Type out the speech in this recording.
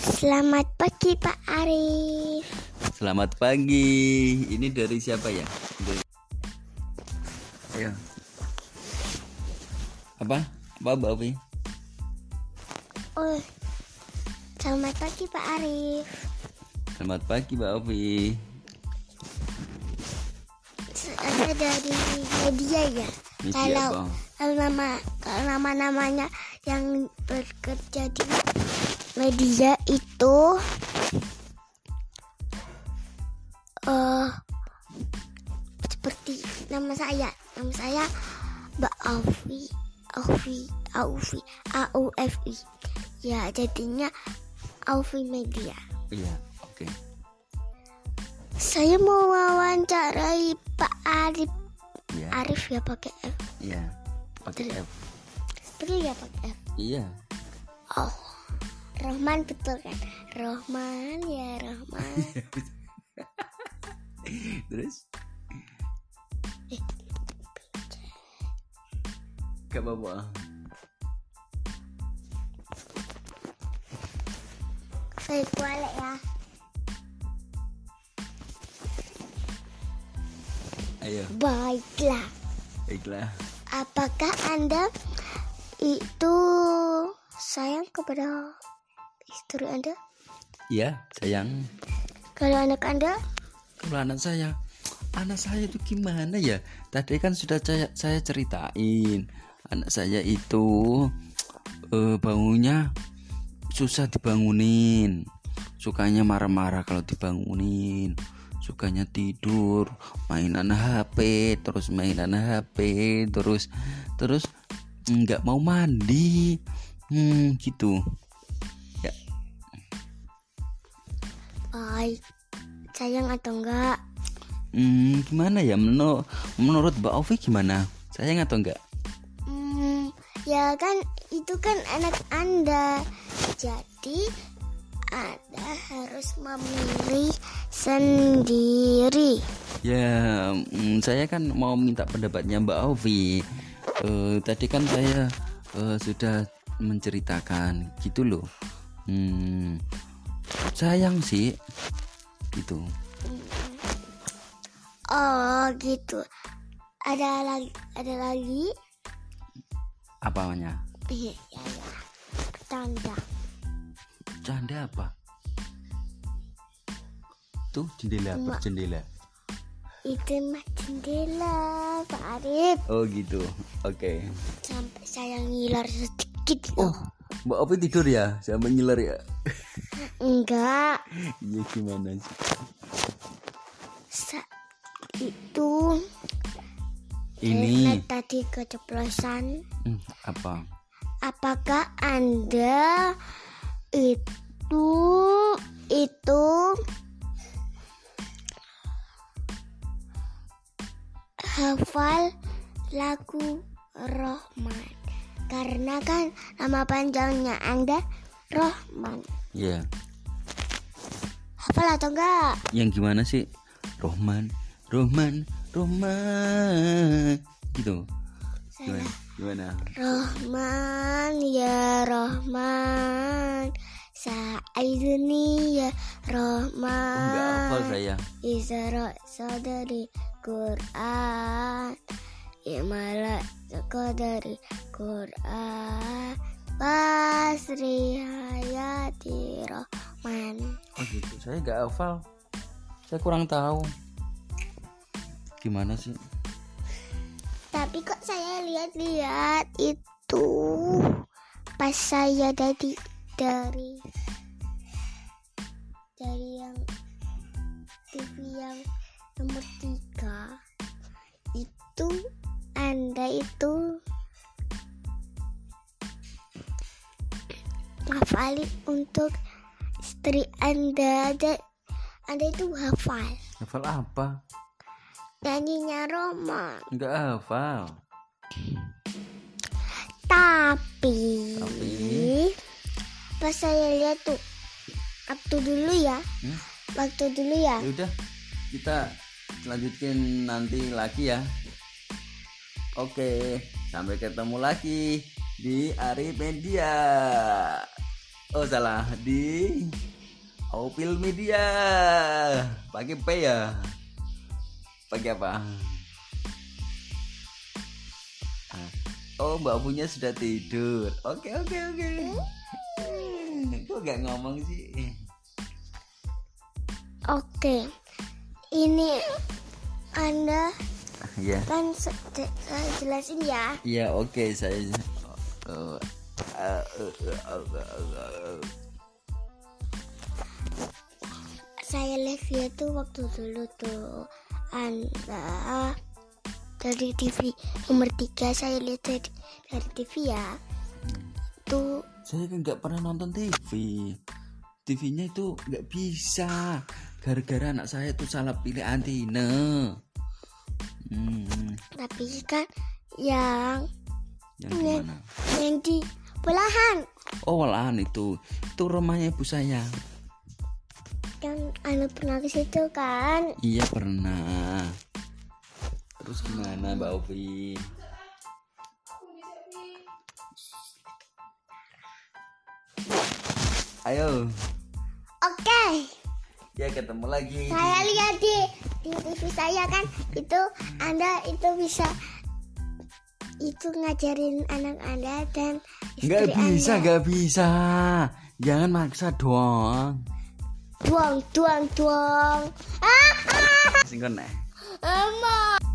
Selamat pagi Pak Arif. Selamat pagi. Ini dari siapa ya? Dari... Ayo. Apa? Apa Mbak Ovi? Oh, selamat pagi Pak Arif. Selamat pagi Mbak Ovi. Saya dari media ya. Media kalau apa? kalau nama kalau nama namanya yang bekerja di media itu eh seperti nama saya nama saya Mbak Aufi Aufi Aufi A U F I ya jadinya Aufi Media Iya, oke. saya mau wawancarai Pak Arif Iya, Arif ya pakai F iya. Pakai F. betul ya pakai F Iya. Oh, Rahman betul kan? Rahman ya Rahman. Terus? Gak apa-apa. Baik balik ya. Ayo, Baiklah. baiklah. Apakah anda itu sayang kepada istri anda? Iya, sayang. Kalau anak anda? Kalau anak saya, anak saya itu gimana ya? Tadi kan sudah saya, saya ceritain, anak saya itu eh, bangunnya susah dibangunin, sukanya marah-marah kalau dibangunin, sukanya tidur, mainan HP, terus mainan HP, terus terus mm, nggak mau mandi, hmm, gitu. Ya, Baik. Sayang atau enggak? hmm, gimana ya? Menurut menurut Mbak Ovi gimana? Sayang atau enggak? Hmm, ya kan itu kan anak anda. Jadi anda harus memilih sendiri. Ya, mm, saya kan mau minta pendapatnya Mbak Ovi. Eh, tadi kan saya eh, sudah menceritakan gitu loh. Hmm, sayang sih, gitu. Oh gitu. Ada lagi, ada lagi. Apanya? Iya, ya, ya. Bercanda. Canda apa? Tuh jendela, Mbak. berjendela. Itu mah jendela, Pak Arif. Oh gitu. Oke. Sampai saya ngiler sedikit. Oh, Mbak Ovi tidur ya? Saya ngiler ya. Enggak. Iya gimana sih? Sa- itu Iya, Ini Karena tadi keceplosan. Hmm, apa? Apakah Anda itu itu hafal lagu Rohman? Karena kan nama panjangnya Anda Rohman. Ya. Hafal atau enggak? yang gimana sih Rohman Rohman Rohman gitu gimana gimana Rohman ya Rohman Sa'idni ya Oh, nggak hafal Rohman saya Isra sadari Quran Ya, Imala dari Quran Basri hayati Rohman oh gitu saya nggak hafal saya kurang tahu gimana sih Tapi kok saya lihat-lihat itu pas saya dari dari dari yang TV yang nomor tiga itu anda itu hafalin untuk istri anda dan anda itu hafal hafal apa nyanyinya Roman nggak hafal Tapi, Tapi? pas saya lihat tuh waktu dulu ya, Hmm? waktu dulu ya. ya udah kita lanjutkan nanti lagi ya oke sampai ketemu lagi di Aripedia oh salah di Opil Media. Pakai P ya. Pakai apa? Ah, Oh, Mbak Punya sudah tidur. Oke, oke, oke. Kok gak ngomong sih? Oke, ini Anda Iya. kan se- de- eh, jelasin ya. Iya, oke, saya. Eh, eh, eh, eh, eh, eh, eh. Saya live ya tuh waktu dulu tuh Anda dari TV nomor 3 saya lihat dari, dari TV ya. Itu saya kan nggak pernah nonton TV TV-nya itu nggak bisa gara-gara anak saya itu salah pilih antena hmm, tapi kan yang yang gimana yang di belahan oh olahan itu itu rumahnya ibu saya yang anu pernah ke situ kan iya pernah terus gimana mbak Ovi ayo oke ya ketemu lagi di- saya lihat di di TV saya kan itu anda itu bisa itu ngajarin anak anda dan istri Nggak bisa, anda nggak bisa. Jangan maksa dong. tuang tuang tuang ah, ah, Singkon eh. ah, Mama.